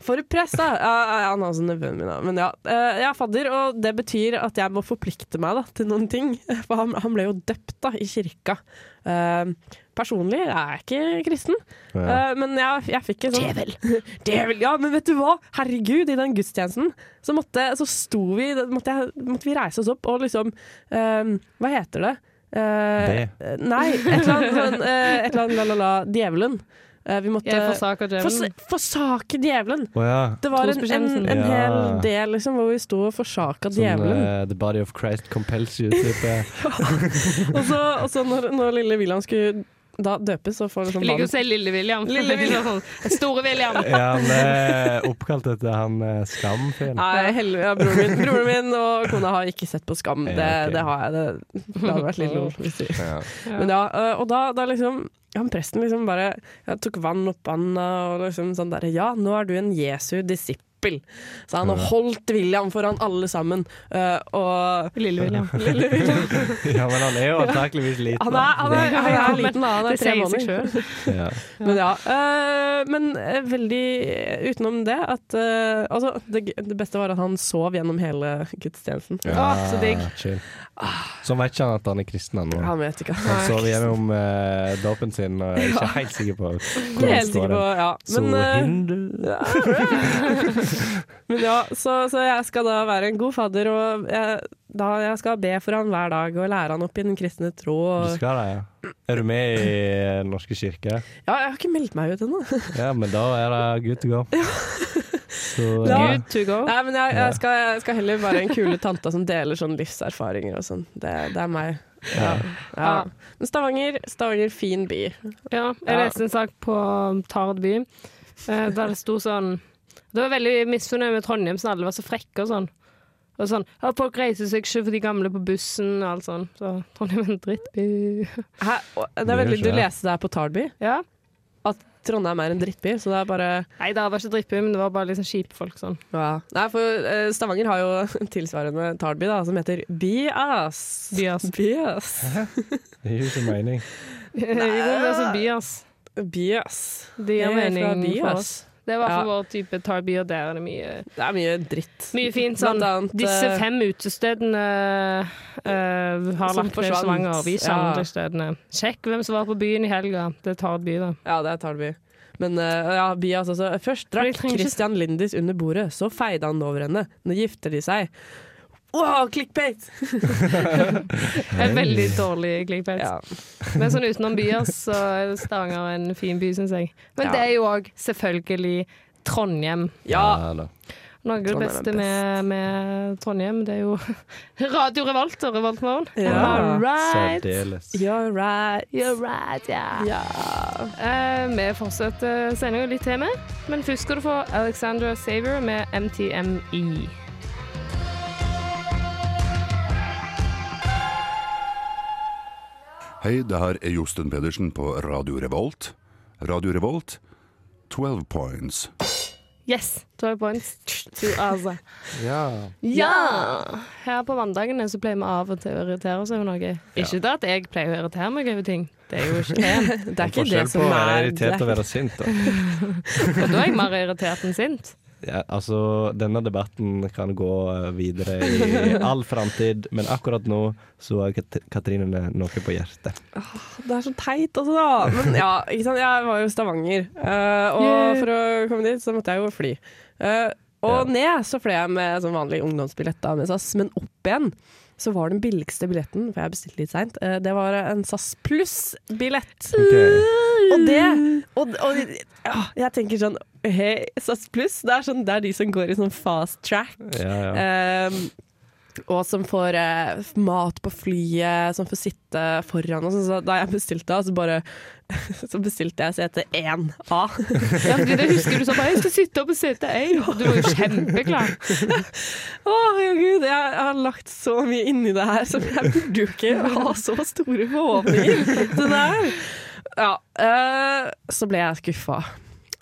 Speaker 6: For et press, da! Ja, ja, ja, han er også nevøen min, da. Men ja. eh, Jeg er fadder, og det betyr at jeg må forplikte meg da, til noen ting. *laughs* For han, han ble jo døpt da, i kirka. Eh, personlig jeg er jeg ikke kristen,
Speaker 7: Ja.
Speaker 6: Eh, men jeg, jeg fikk en sånn Djevel! *laughs* Djevel! Ja, men vet du hva? Herregud, i den gudstjenesten så, måtte, så sto vi da måtte, jeg, måtte vi reise oss opp og liksom eh, Hva heter det? Eh,
Speaker 7: Det.
Speaker 6: Nei, et eller annet sånn eh, Et eller annet la-la-la. Djevelen. Eh, vi måtte
Speaker 2: Jeg forsaker djevelen.
Speaker 6: Fors- Forsake djevelen!
Speaker 7: Å ja.
Speaker 6: Det var en, en,
Speaker 2: Trosbekjennelsen.
Speaker 6: en hel
Speaker 7: Ja.
Speaker 6: del liksom, hvor vi sto og forsaka
Speaker 7: Sånn
Speaker 6: djevelen.
Speaker 7: eh, The Body of Christ compels you. Type.
Speaker 6: *laughs* Og så, og så når, når lille William skulle da døpes, så får han
Speaker 2: Jeg
Speaker 6: sånn
Speaker 2: liker å
Speaker 6: vann.
Speaker 2: si Lille William. *laughs*
Speaker 6: Lille William.
Speaker 2: Sånn, Store William.
Speaker 7: *laughs* Ja, han er oppkalt etter han eh, Skam-fyren.
Speaker 6: Nei, helvete. *laughs* Ja, broren, min, broren min og kona har ikke sett på Skam. Det,
Speaker 7: Ja, ok.
Speaker 6: det har jeg. Det, det hadde vært litt lol. Hvis de.
Speaker 7: Ja.
Speaker 6: *laughs* Men ja, øh, og da, da liksom han presten liksom bare ja, tok vann opp handa og liksom sånn derre Ja, nå er du en Jesu disippel. Så han og holdt William foran alle sammen. øh, og
Speaker 2: Lille William.
Speaker 6: lille William
Speaker 7: *laughs* ja, men han er jo antakeligvis liten.
Speaker 6: Han er, han er, han er liten, da. Han
Speaker 2: Det
Speaker 6: er
Speaker 2: sier
Speaker 6: tre
Speaker 2: seg
Speaker 6: måneder.
Speaker 2: selv.
Speaker 7: Ja.
Speaker 6: Men ja. øh, men øh, veldig utenom det at øh, Altså, det, det beste var at han sov gjennom hele gudstjenesten.
Speaker 2: Å, så digg.
Speaker 7: Chill. Så vet ikke han at han er kristen ennå.
Speaker 6: Ah. Han vet ikke.
Speaker 7: Han sov gjennom eh, dåpen sin og er ikke *laughs* helt sikker på
Speaker 6: Det
Speaker 7: hvor
Speaker 6: er jeg
Speaker 7: han
Speaker 6: helt
Speaker 7: står.
Speaker 6: sikker på, ja.
Speaker 7: Så
Speaker 6: Men, øh,
Speaker 7: hindu
Speaker 6: Men ja, så, så jeg skal da være en god fadder, og jeg, da jeg skal be for han hver dag og lære han opp i den kristne tro.
Speaker 7: Du
Speaker 6: Og,
Speaker 7: skal det, ja. Er du med i Den norske kirke?
Speaker 6: ja, jeg har ikke meldt meg ut ennå.
Speaker 7: Ja, men da er det good to go. Så,
Speaker 6: *laughs*
Speaker 7: eh,
Speaker 6: Ja.
Speaker 2: Good to go.
Speaker 6: Nei, men jeg, jeg, skal, jeg skal heller være en kule tante som deler sånn livserfaringer og sånn. Det, det er meg. Ja. Ja. Men Stavanger, Stavanger fin by.
Speaker 2: Ja, jeg
Speaker 6: Ja.
Speaker 2: leste en sak på um, Tard by, eh, der det sto sånn Det var veldig misfornøyd med Trondheim, så alle var så frekke og sånn. Og sånn, ja, Folk reiser seg ikke for de gamle på bussen og alt sånn. Så Trondheim er en drittby. *laughs*
Speaker 6: Hæ? Og Det
Speaker 7: Det
Speaker 6: er
Speaker 7: gjør
Speaker 6: veldig,
Speaker 7: ikke
Speaker 6: du
Speaker 7: det.
Speaker 6: leste det her på Tarby,
Speaker 2: Ja.
Speaker 6: at Trondheim er en drittby, så det er bare
Speaker 2: Nei, det var ikke drittby, men det var bare liksom kjipe folk sånn. *laughs*
Speaker 6: ja. Nei, for eh, Stavanger har jo tilsvarende Tarby, da, som heter Bias.
Speaker 2: Bias.
Speaker 6: Bias.
Speaker 7: det gir jo ikke mening.
Speaker 2: Jo, det er altså by, ass.
Speaker 6: Bias.
Speaker 2: Det gir
Speaker 6: Jeg er fra
Speaker 2: mening
Speaker 6: Bias.
Speaker 2: for oss. Det var for
Speaker 6: Ja.
Speaker 2: vår type Tard by, og der er det mye
Speaker 6: Det er mye dritt.
Speaker 2: Mye fint
Speaker 6: Blant
Speaker 2: sånn.
Speaker 6: annet,
Speaker 2: Disse
Speaker 6: eh,
Speaker 2: fem utestedene eh, har
Speaker 6: Som
Speaker 2: lagt ned
Speaker 6: forsvant.
Speaker 2: Stavanger. Vi
Speaker 6: Ja.
Speaker 2: savner stedene. Sjekk hvem som var på byen i helga. Det er Tard by, da.
Speaker 6: Ja, det er Talby. Men eh, ja, Bias altså. Først
Speaker 2: Men vi
Speaker 6: drakk
Speaker 2: trenger ikke-
Speaker 6: Christian Lindis under bordet, så feide han over henne. Nå gifter de seg. Wow, clickbait!
Speaker 2: Det er veldig dårlig clickbait.
Speaker 6: Ja.
Speaker 2: Men sånn utenom byer, så er Stavanger en fin by, syns jeg. Men
Speaker 6: Ja.
Speaker 2: det er jo òg selvfølgelig Trondheim.
Speaker 6: ja.
Speaker 7: Ja, da.
Speaker 2: Noe av det
Speaker 6: Trondheim er
Speaker 2: beste
Speaker 6: best.
Speaker 2: med, med Trondheim, det er jo *laughs* Radio Revolt og Revoltmorgen.
Speaker 6: Ja.
Speaker 2: Am I right?
Speaker 7: Særdeles.
Speaker 6: You're right.
Speaker 2: You're right, yeah.
Speaker 6: Ja.
Speaker 2: Eh, vi fortsetter sendinga litt til, med, men først skal du få Alexandra Savior med MTME.
Speaker 10: Hei, det her er Josten Pedersen på Radio Revolt. Radio Revolt, 12 points.
Speaker 2: Yes! 12 points to Aza.
Speaker 7: Ja.
Speaker 2: Ja! Her på mandagene så pleier vi av og til å irritere oss over noe. Ikke det at jeg pleier å irritere meg over ting, *laughs* det er jo ikke pent.
Speaker 6: Det er ikke det
Speaker 7: Forskjell på
Speaker 6: som
Speaker 7: å være
Speaker 6: er det.
Speaker 7: irritert og være sint. Da.
Speaker 2: Og da er jeg mer irritert enn sint.
Speaker 7: Ja, altså, denne debatten kan gå eh, videre i all framtid, men akkurat nå så har Kat- Katrine noe på hjertet.
Speaker 6: Det er så teit, altså. da. Men ja, ikke sant? jeg var jo i Stavanger, eh, og
Speaker 2: Yeah.
Speaker 6: for å komme dit så måtte jeg jo fly. Eh, og ned så fløy jeg med sånn vanlig ungdomsbillett, da, med SAS, men opp igjen så var den billigste billetten, for jeg bestilte litt seint, eh, det var en SAS pluss-billett. Og det og, og ja, jeg tenker sånn Hei, SAS pluss, det er, sånn, det er de som går i sånn fast track.
Speaker 7: Ja, ja.
Speaker 6: Ehm, og som får eh, mat på flyet, som får sitte foran og sånn. Så da jeg bestilte, så bare *laughs* Så bestilte jeg sete 1A.
Speaker 2: Ja, fordi det husker du så bare 'jeg skal sitte opp og sete ei'. Du var jo kjempeklar.
Speaker 6: Å, herregud, jeg har lagt så mye inni det her, så jeg burde jo ikke ha så store forhåpninger til det her. Ja, eh, så ble jeg skuffa.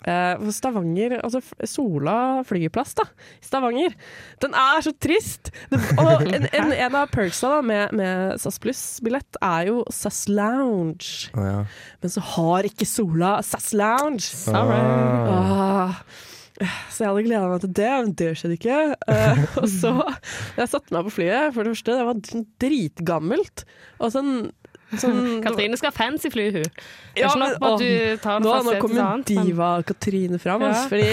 Speaker 6: Eh, for Stavanger, altså F- Sola flyplass, da. Stavanger. Den er så trist! Det,
Speaker 7: *laughs*
Speaker 6: og en, en, en av perksa da, med, med SAS Pluss-billett er jo SAS Lounge.
Speaker 7: Å, ja.
Speaker 6: Men så har ikke Sola SAS Lounge!
Speaker 7: Ah.
Speaker 6: Ah, så jeg hadde gleda meg til det, men det skjedde ikke.
Speaker 7: *laughs*
Speaker 6: Eh, og så Jeg satte meg på flyet, for det første. Det var sånn dritgammelt. Og sånn, sånn
Speaker 2: Katrine skal ha fancy fly, hun. Det er
Speaker 6: Ja,
Speaker 2: ikke
Speaker 6: men-
Speaker 2: nok med at du tar
Speaker 6: Nå,
Speaker 2: det
Speaker 6: nå
Speaker 2: fra sted
Speaker 6: kom
Speaker 2: til
Speaker 6: jo
Speaker 2: annet. men-
Speaker 6: diva-Katrine fram,
Speaker 2: Ja.
Speaker 6: altså, fordi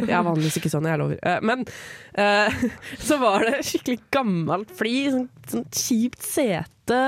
Speaker 2: *laughs*
Speaker 6: Jeg er vanligvis ikke sånn, jeg lover. Eh, Men *laughs* eh, så var det skikkelig gammelt fly, sånn, sånn kjipt sete. hvite.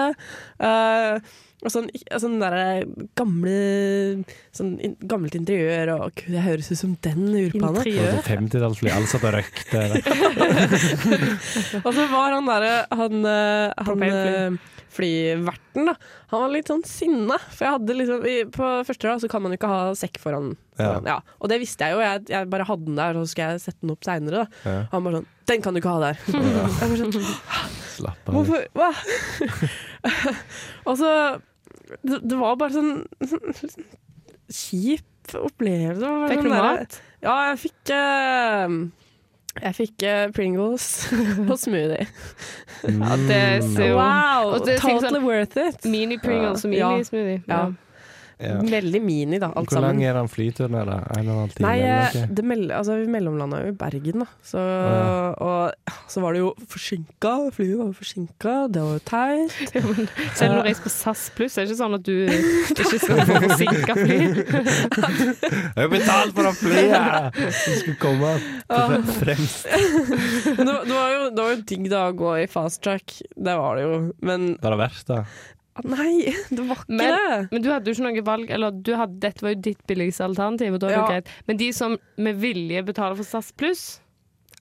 Speaker 6: eh, og sånn, og sånn der gamle, sånn in, gammelt interiør og Gud, jeg høres ut som den urbanen.
Speaker 2: Interiør.
Speaker 7: 50-tallet blir alle satt og røykte. da.
Speaker 6: Og så var han derre han, eh, han
Speaker 2: Propellfly.
Speaker 6: eh, flyverten, da. Han var litt sånn sinna. For jeg hadde liksom i, På første rad så kan man jo ikke ha sekk foran.
Speaker 7: Ja.
Speaker 6: foran ja. Og det visste jeg jo, jeg, jeg bare hadde den der, og så skal jeg sette den opp seinere.
Speaker 7: Ja.
Speaker 6: Han bare sånn Den kan du ikke ha der! *laughs* Jeg bare sånn,
Speaker 7: Slapp av.
Speaker 6: Hvorfor Hva? *laughs* og så det, det var bare sånn, sånn kjip opplevelse. Det var bare sånn der-
Speaker 2: Diplomat.
Speaker 6: ja, jeg fikk eh, Jeg fikk eh, Pringles *laughs* og smoothie.
Speaker 2: Ja, det ser jo
Speaker 6: Wow!
Speaker 2: Og det er ting
Speaker 6: totally worth it.
Speaker 2: Mini-Pringles og
Speaker 6: Ja.
Speaker 2: mini-smoothie.
Speaker 6: Ja.
Speaker 2: Ja.
Speaker 7: Ja.
Speaker 6: Veldig mini, da, alt
Speaker 7: Hvor lang
Speaker 6: sammen.
Speaker 7: er den flyturen her, da? En og en halv time?
Speaker 6: Nei,
Speaker 7: eller
Speaker 6: eh,
Speaker 7: noe?
Speaker 6: det mell altså, vi mellomlanda jo i Bergen, da. Så,
Speaker 7: Ja.
Speaker 6: og, så var det jo forsinka. Flyet var jo forsinka, det var jo teit.
Speaker 2: *laughs*
Speaker 6: Eh,
Speaker 2: Selv om du reiser på SAS pluss, er det ikke sånn at du
Speaker 6: *laughs*
Speaker 2: ikke skal få forsinka fly.
Speaker 7: Jeg har betalt for å fly! Du skulle komme til fre- fremst.
Speaker 6: Men Det, var- det, var jo, det var jo digg da å gå i fast track, det var det jo. Men
Speaker 7: Det er det verste.
Speaker 6: ah, nei, *laughs* det var ikke
Speaker 2: Men-
Speaker 6: det!
Speaker 2: Men du hadde jo ikke noe valg, eller du hadde, dette var jo ditt billigste alternativ, og da er det
Speaker 6: Ja.
Speaker 2: greit. Men de som med vilje betaler for SAS pluss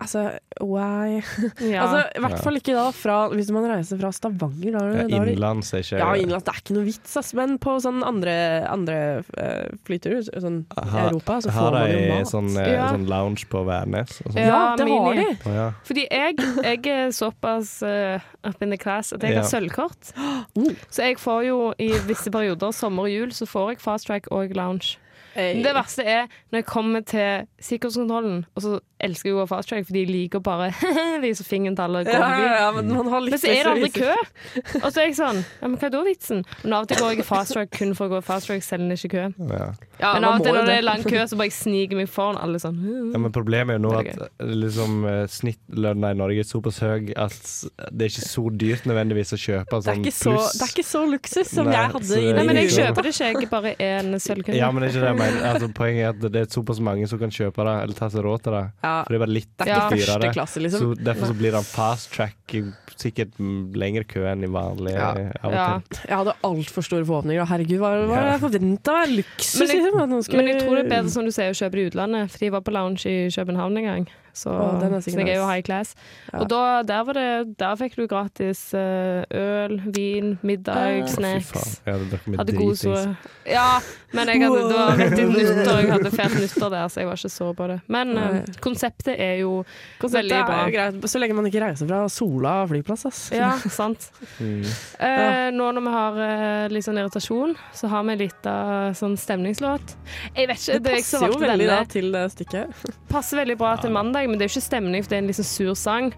Speaker 6: Altså, why?
Speaker 2: ja.
Speaker 6: Altså, I hvert fall ikke da fra, hvis man reiser fra Stavanger. Da,
Speaker 7: Ja,
Speaker 6: er det- da er det,
Speaker 7: Innenlands er ikke
Speaker 6: ja, innenlands. Det er ikke noe vits, ass. Men på sånn andre, andre eh, flyturer, sånn
Speaker 7: Ha-
Speaker 6: Europa, så får
Speaker 7: Har
Speaker 6: man jo
Speaker 7: de
Speaker 6: mat.
Speaker 7: sånn, eh,
Speaker 2: Ja.
Speaker 7: sånn lounge på Værnes? Og sånn?
Speaker 6: ja, det har
Speaker 2: mini.
Speaker 6: de!
Speaker 7: Å, ja.
Speaker 2: Fordi jeg, jeg er såpass eh, up in the class at jeg
Speaker 7: Ja.
Speaker 2: har sølvkort.
Speaker 6: *gasps* Oh.
Speaker 2: Så jeg får jo i visse perioder, sommer og jul, så får jeg fast track og lounge. Men det verste er når jeg kommer til sikkerhetskontrollen, og så elsker jeg å gå fast track, for de liker å bare *laughs* vise fingeren til alle.
Speaker 6: ja, ja,
Speaker 2: Ja,
Speaker 6: ja, men man har litt
Speaker 2: men så er det aldri
Speaker 6: lyst til å
Speaker 2: kø!
Speaker 6: vise-
Speaker 2: Og så er jeg sånn ja, Men hva er da vitsen? Men av og til går jeg i fast track kun for å gå i fast track, selv om det ikke er kø.
Speaker 7: Ja.
Speaker 6: Ja,
Speaker 2: Men
Speaker 6: man
Speaker 2: av og til
Speaker 6: må jo
Speaker 2: når det er lang kø, så bare jeg sniker meg foran alle sånn.
Speaker 7: ja, Men problemet er jo nå
Speaker 2: Det er
Speaker 7: at eh, liksom, eh, snittlønna i Norge er såpass høy at s- det er ikke så dyrt nødvendigvis å kjøpe
Speaker 6: Det er,
Speaker 7: sånn
Speaker 6: ikke så,
Speaker 7: pluss.
Speaker 6: det er ikke så luksus som
Speaker 7: Nei,
Speaker 6: jeg hadde
Speaker 7: så
Speaker 6: i
Speaker 7: det-
Speaker 2: Nei, men jeg
Speaker 7: jo.
Speaker 2: kjøper det ikke. Jeg er bare en sølvkunde.
Speaker 7: ja, men det er ikke det jeg mener. Altså, poenget er at det er såpass mange som kan kjøpe det, eller ta seg råd til det.
Speaker 6: Ja,
Speaker 7: For det er bare litt
Speaker 6: det er
Speaker 2: Ja.
Speaker 6: ikke første
Speaker 7: dyrere.
Speaker 6: klasse, liksom.
Speaker 7: Så derfor så blir det en fast track i sikkert mm, lengre kø enn i vanlig
Speaker 6: Ja.
Speaker 7: eh, av og
Speaker 2: ja.
Speaker 7: til.
Speaker 6: Jeg hadde altfor store forhåpninger. og Herregud, hva hva
Speaker 7: Ja.
Speaker 6: jeg forventa av luksus?
Speaker 2: Men jeg-
Speaker 6: liksom, at noen skulle-
Speaker 2: Men jeg tror det er bedre, som du sier, å kjøpe i utlandet. For de var på lounge i København en gang. Så,
Speaker 6: Å, den er
Speaker 2: så
Speaker 6: sikkert
Speaker 2: jeg er jo
Speaker 6: nice.
Speaker 2: high class.
Speaker 6: Ja.
Speaker 2: Og da, der, var det, der fikk du gratis eh, øl, vin, middag,
Speaker 7: Fy
Speaker 6: Å, fy
Speaker 2: snacks.
Speaker 7: faen. Jeg hadde drukket meg
Speaker 2: Hadde god
Speaker 7: dritings.
Speaker 2: så Ja, men jeg hadde, det var rett i nyttår. Jeg hadde feiret nyttår der, så jeg var ikke så på det. Men eh,
Speaker 6: Nei.
Speaker 2: konseptet er jo
Speaker 6: Konseptet
Speaker 2: veldig
Speaker 6: er
Speaker 2: bra.
Speaker 6: jo greit, så lenge man ikke reiser fra Sola flyplass, ass.
Speaker 2: Ja, sant. Eh, nå når vi har eh, litt sånn irritasjon, så har vi litt av sånn stemningslåt. Jeg vet ikke,
Speaker 6: Det
Speaker 2: det er jeg som
Speaker 6: passer jo
Speaker 2: valgte
Speaker 6: veldig da
Speaker 2: denne.
Speaker 6: til det stykket.
Speaker 2: passer veldig bra til mandag, men det er jo ikke stemning, for det er en liksom sur sang.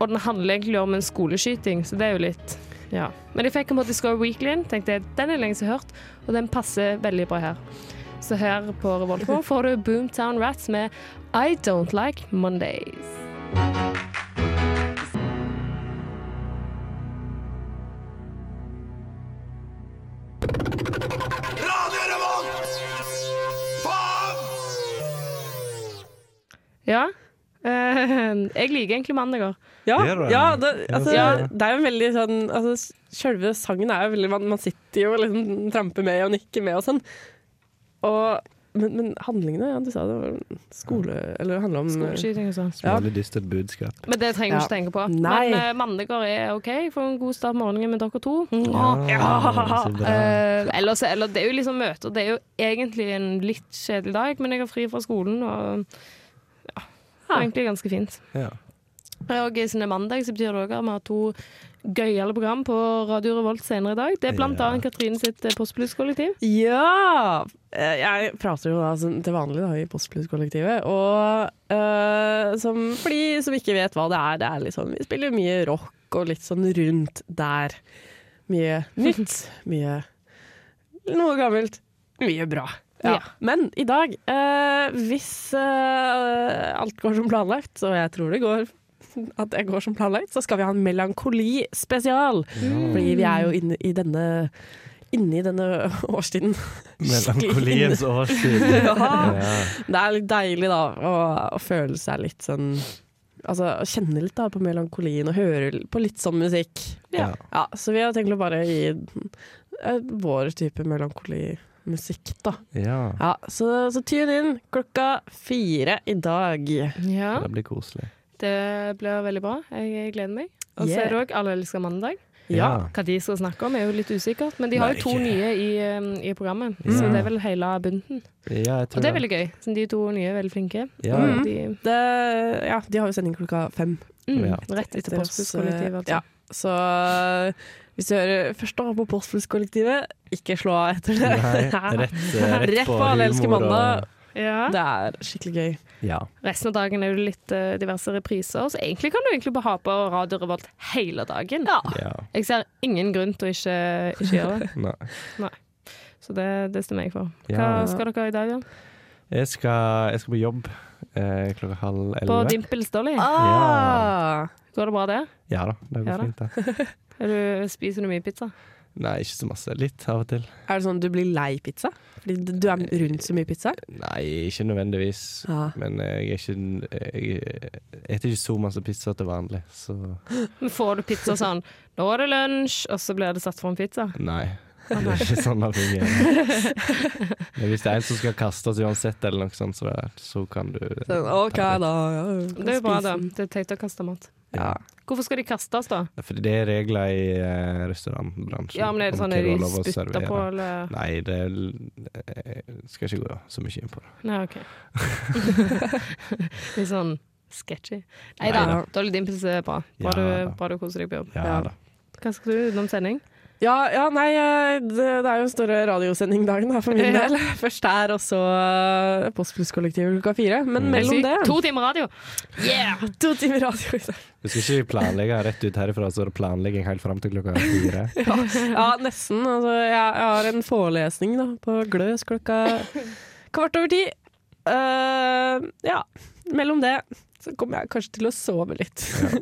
Speaker 2: Og den handler egentlig om en skoleskyting, så det er jo litt Ja. Men jeg fikk den på Discover Weekly, tenkte jeg, den er lenge siden jeg har hørt, og den passer veldig bra her. Så her på Revoltmore får du Boomtown Rats med I Don't Like Mondays. Ja. Eh, *laughs* jeg liker egentlig mandager.
Speaker 6: Ja,
Speaker 7: Det er det.
Speaker 6: ja, det, altså,
Speaker 7: Ja.
Speaker 6: det er jo veldig sånn altså, Selve sangen er jo veldig Man, man sitter jo og liksom tramper med og nikker med og sånn. Og, men, men handlingene, ja, du sa det var skole Eller det handler om eh,
Speaker 2: Skoleskyting og sånn.
Speaker 6: Ja.
Speaker 7: Veldig dystert budskap.
Speaker 2: Men det trenger vi
Speaker 6: Ja.
Speaker 2: ikke tenke på.
Speaker 6: Nei.
Speaker 2: Men eh, mandager er OK. Får en god start på morgenen med dere to.
Speaker 7: Ja, så bra.
Speaker 2: Eh, ellers, eller det er jo liksom møter. Det er jo egentlig en litt kjedelig dag, men jeg har fri fra skolen, og ja, det er egentlig ganske fint.
Speaker 7: Ja.
Speaker 2: Og siden det er mandag, så betyr det også at vi har to gøyale program på Radio Revolt senere i dag. Det er blant
Speaker 7: Ja.
Speaker 2: annet Katrine sitt eh, Postblues-kollektiv.
Speaker 6: Ja! Eh, Jeg prater jo da som- til vanlig da, i Postblues-kollektivet. Og eh, som, for de som ikke vet hva det er, det er litt sånn Vi spiller mye rock og litt sånn rundt der. Mye nytt. Mye Noe gammelt. Mye bra. Ja.
Speaker 2: Ja.
Speaker 6: Men i dag, eh, hvis eh, alt går som planlagt, og jeg tror det går at det går som planlagt, så skal vi ha en melankoli-spesial. Fordi vi er jo inne i denne Inne i denne
Speaker 7: *laughs*
Speaker 6: årstiden.
Speaker 7: *laughs* Melankoliens årstid.
Speaker 6: *laughs* Ja.
Speaker 7: Ja.
Speaker 6: Det er litt deilig, da, å, å føle seg litt sånn altså, kjenne litt da, på melankolien og høre l- på litt sånn musikk.
Speaker 7: Ja.
Speaker 6: Ja, så vi har tenkt å bare gi eh, vår type melankolimusikk, da.
Speaker 7: Ja.
Speaker 6: Ja, så, så tune inn klokka fire i dag.
Speaker 2: Ja,
Speaker 7: Det blir koselig.
Speaker 2: det blir veldig bra. Jeg gleder meg. Og så
Speaker 6: Yeah.
Speaker 2: er det òg Alle elsker mandag.
Speaker 6: Ja.
Speaker 2: Hva de skal snakke om, er jo litt usikkert, men de har jo to nye i, um, i programmet. Så
Speaker 7: Ja.
Speaker 2: det er vel hele bunten.
Speaker 7: Ja, jeg Mm. tror
Speaker 2: Og det er veldig gøy. Så de to nye er veldig flinke. Mm.
Speaker 7: Ja. Mm.
Speaker 2: Og de,
Speaker 6: Det, ja, de har jo sending klokka fem.
Speaker 2: mm,
Speaker 7: Ja.
Speaker 2: Rett etter
Speaker 6: oss,
Speaker 2: Posthuskollektivet.
Speaker 6: eh, Ja,
Speaker 2: Altså.
Speaker 6: så eh, hvis du hører først da på Posthuskollektivet, ikke slå av etter det. *laughs*
Speaker 7: Nei, rett, eh,
Speaker 6: Rett på Alle elsker
Speaker 7: humor og-
Speaker 6: mandag.
Speaker 2: Ja.
Speaker 6: Det er skikkelig gøy.
Speaker 7: Ja.
Speaker 2: Resten av dagen er jo litt eh, diverse repriser, så egentlig kan du egentlig bare ha på Radio Revolt hele dagen.
Speaker 7: ja.
Speaker 2: Jeg ser ingen grunn til å ikke, ikke gjøre
Speaker 7: *laughs*
Speaker 2: det,
Speaker 7: Nei.
Speaker 2: så det, det stemmer jeg for. Hva
Speaker 7: Ja.
Speaker 2: skal dere i dag, da?
Speaker 7: Jeg, skal, jeg skal på jobb eh, klokka halv
Speaker 2: På
Speaker 7: elleve.
Speaker 2: Dimples Dolly?
Speaker 6: Ah,
Speaker 2: Går det bra der?
Speaker 7: Ja da, det går
Speaker 2: Ja da.
Speaker 7: fint,
Speaker 2: *laughs*
Speaker 7: det.
Speaker 2: Er du, spiser du mye pizza?
Speaker 7: Nei, ikke så masse. Litt av og til.
Speaker 6: Er det sånn du blir lei pizza? Fordi du- du er rundt så mye pizza?
Speaker 7: Nei, ikke nødvendigvis.
Speaker 6: Ja.
Speaker 7: Men jeg er ikke Jeg jeg spiser ikke så masse pizza til vanlig, så
Speaker 2: Men får du pizza sånn Nå er det lunsj, og så blir det satt fram pizza.
Speaker 7: nei. Det er ikke sånn det fungerer.
Speaker 2: *laughs*
Speaker 7: Men hvis det er en som skal kastes uansett, eller noe sånt, så, det, så kan du
Speaker 6: Sånn, OK, da. Ja,
Speaker 2: Det er jo bra, da. Det er teit å kaste mat.
Speaker 7: Ja.
Speaker 2: Hvorfor skal de kastes, da?
Speaker 7: Fordi det er regler i eh, restaurantbransjen.
Speaker 2: Ja, men er det
Speaker 7: om
Speaker 2: sånn
Speaker 7: hva
Speaker 2: er de
Speaker 7: du har lov å
Speaker 2: spytter
Speaker 7: servere.
Speaker 2: på, eller
Speaker 7: Nei, det er l- Jeg skal ikke gå så mye inn på det.
Speaker 2: Nei,
Speaker 7: *laughs*
Speaker 2: OK. Litt sånn sketchy. Nei da,
Speaker 7: Neida.
Speaker 2: Dolly Dimples er bra.
Speaker 7: Ja
Speaker 2: Bra
Speaker 7: da.
Speaker 2: du, bra du koser deg på jobb.
Speaker 7: Ja,
Speaker 6: Ja.
Speaker 7: da.
Speaker 2: Hva skal du utenom sending?
Speaker 6: Ja, ja, nei, eh, det, det er jo en større radiosending dagen da, for min
Speaker 2: Ja.
Speaker 6: del. Først der, og så eh, Postplusskollektivet klokka fire.
Speaker 7: Mm.
Speaker 6: Men mellom det
Speaker 2: To timer radio!
Speaker 7: *laughs*
Speaker 2: Yeah!
Speaker 6: to timer radio. liksom.
Speaker 7: Du skal ikke planlegge rett ut herifra, så er det planlegging helt fram til klokka fire.
Speaker 6: Ja, nesten. Altså, jeg, jeg har en forelesning da, på Gløs klokka kvart over ti. Eh, ja, mellom det så kommer jeg kanskje til å sove litt.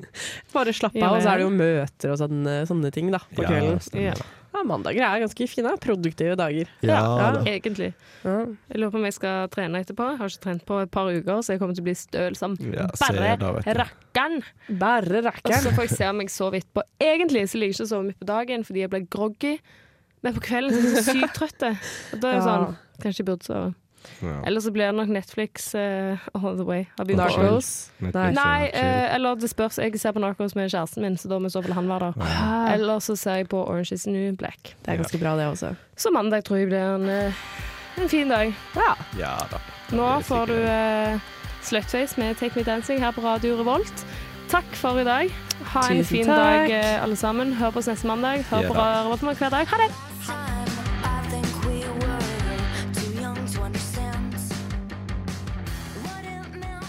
Speaker 6: *laughs* Bare slappe
Speaker 2: Ja,
Speaker 6: av, og så er det
Speaker 2: ja.
Speaker 6: jo møter og sånne, sånne ting da, på kvelden.
Speaker 7: stemmer det.
Speaker 6: Ja, mandager er ganske fine. Produktive dager.
Speaker 7: Ja, da.
Speaker 2: Egentlig.
Speaker 6: Ja.
Speaker 2: Jeg lurer på om jeg skal trene etterpå. Jeg har ikke trent på et par uker, så jeg kommer til å bli støl som
Speaker 7: Ja, se
Speaker 2: bare
Speaker 7: da, vet du.
Speaker 2: rakkeren.
Speaker 6: Bare
Speaker 2: Og
Speaker 6: rakkeren.
Speaker 2: så får jeg se om jeg sover etterpå. Egentlig så ligger jeg ikke og sover midt på dagen fordi jeg blir groggy, men på kvelden så er jeg så sykt trøtt. Og da er jeg
Speaker 6: Ja.
Speaker 2: sånn Kanskje jeg burde sove. Eller så blir det nok Netflix eh, all the way. Har begynt å-
Speaker 6: Narcos.
Speaker 7: Netflix
Speaker 2: Nei,
Speaker 7: og chill.
Speaker 2: eh, eller det spørs. Jeg ser på Narcos med kjæresten min, så da må i så fall han være der.
Speaker 6: Det
Speaker 2: Eller så ser jeg på Orange is the New Black.
Speaker 6: er ganske bra, det også.
Speaker 2: Så mandag tror jeg blir en, eh, en fin dag.
Speaker 7: ja da.
Speaker 2: Nå
Speaker 7: Det er
Speaker 2: får du
Speaker 7: sikkert-
Speaker 2: eh, Slutface med Take Me Dancing her på Radio Revolt. Takk for i dag. Ha en
Speaker 6: Tusen
Speaker 2: fin
Speaker 6: takk.
Speaker 2: dag, eh, alle sammen. Hør på oss neste mandag. Hør
Speaker 7: Ja
Speaker 2: på
Speaker 7: da.
Speaker 2: Radio Revolt nå hver dag. Ha det!
Speaker 4: Time, I think we were too young to understand what it meant.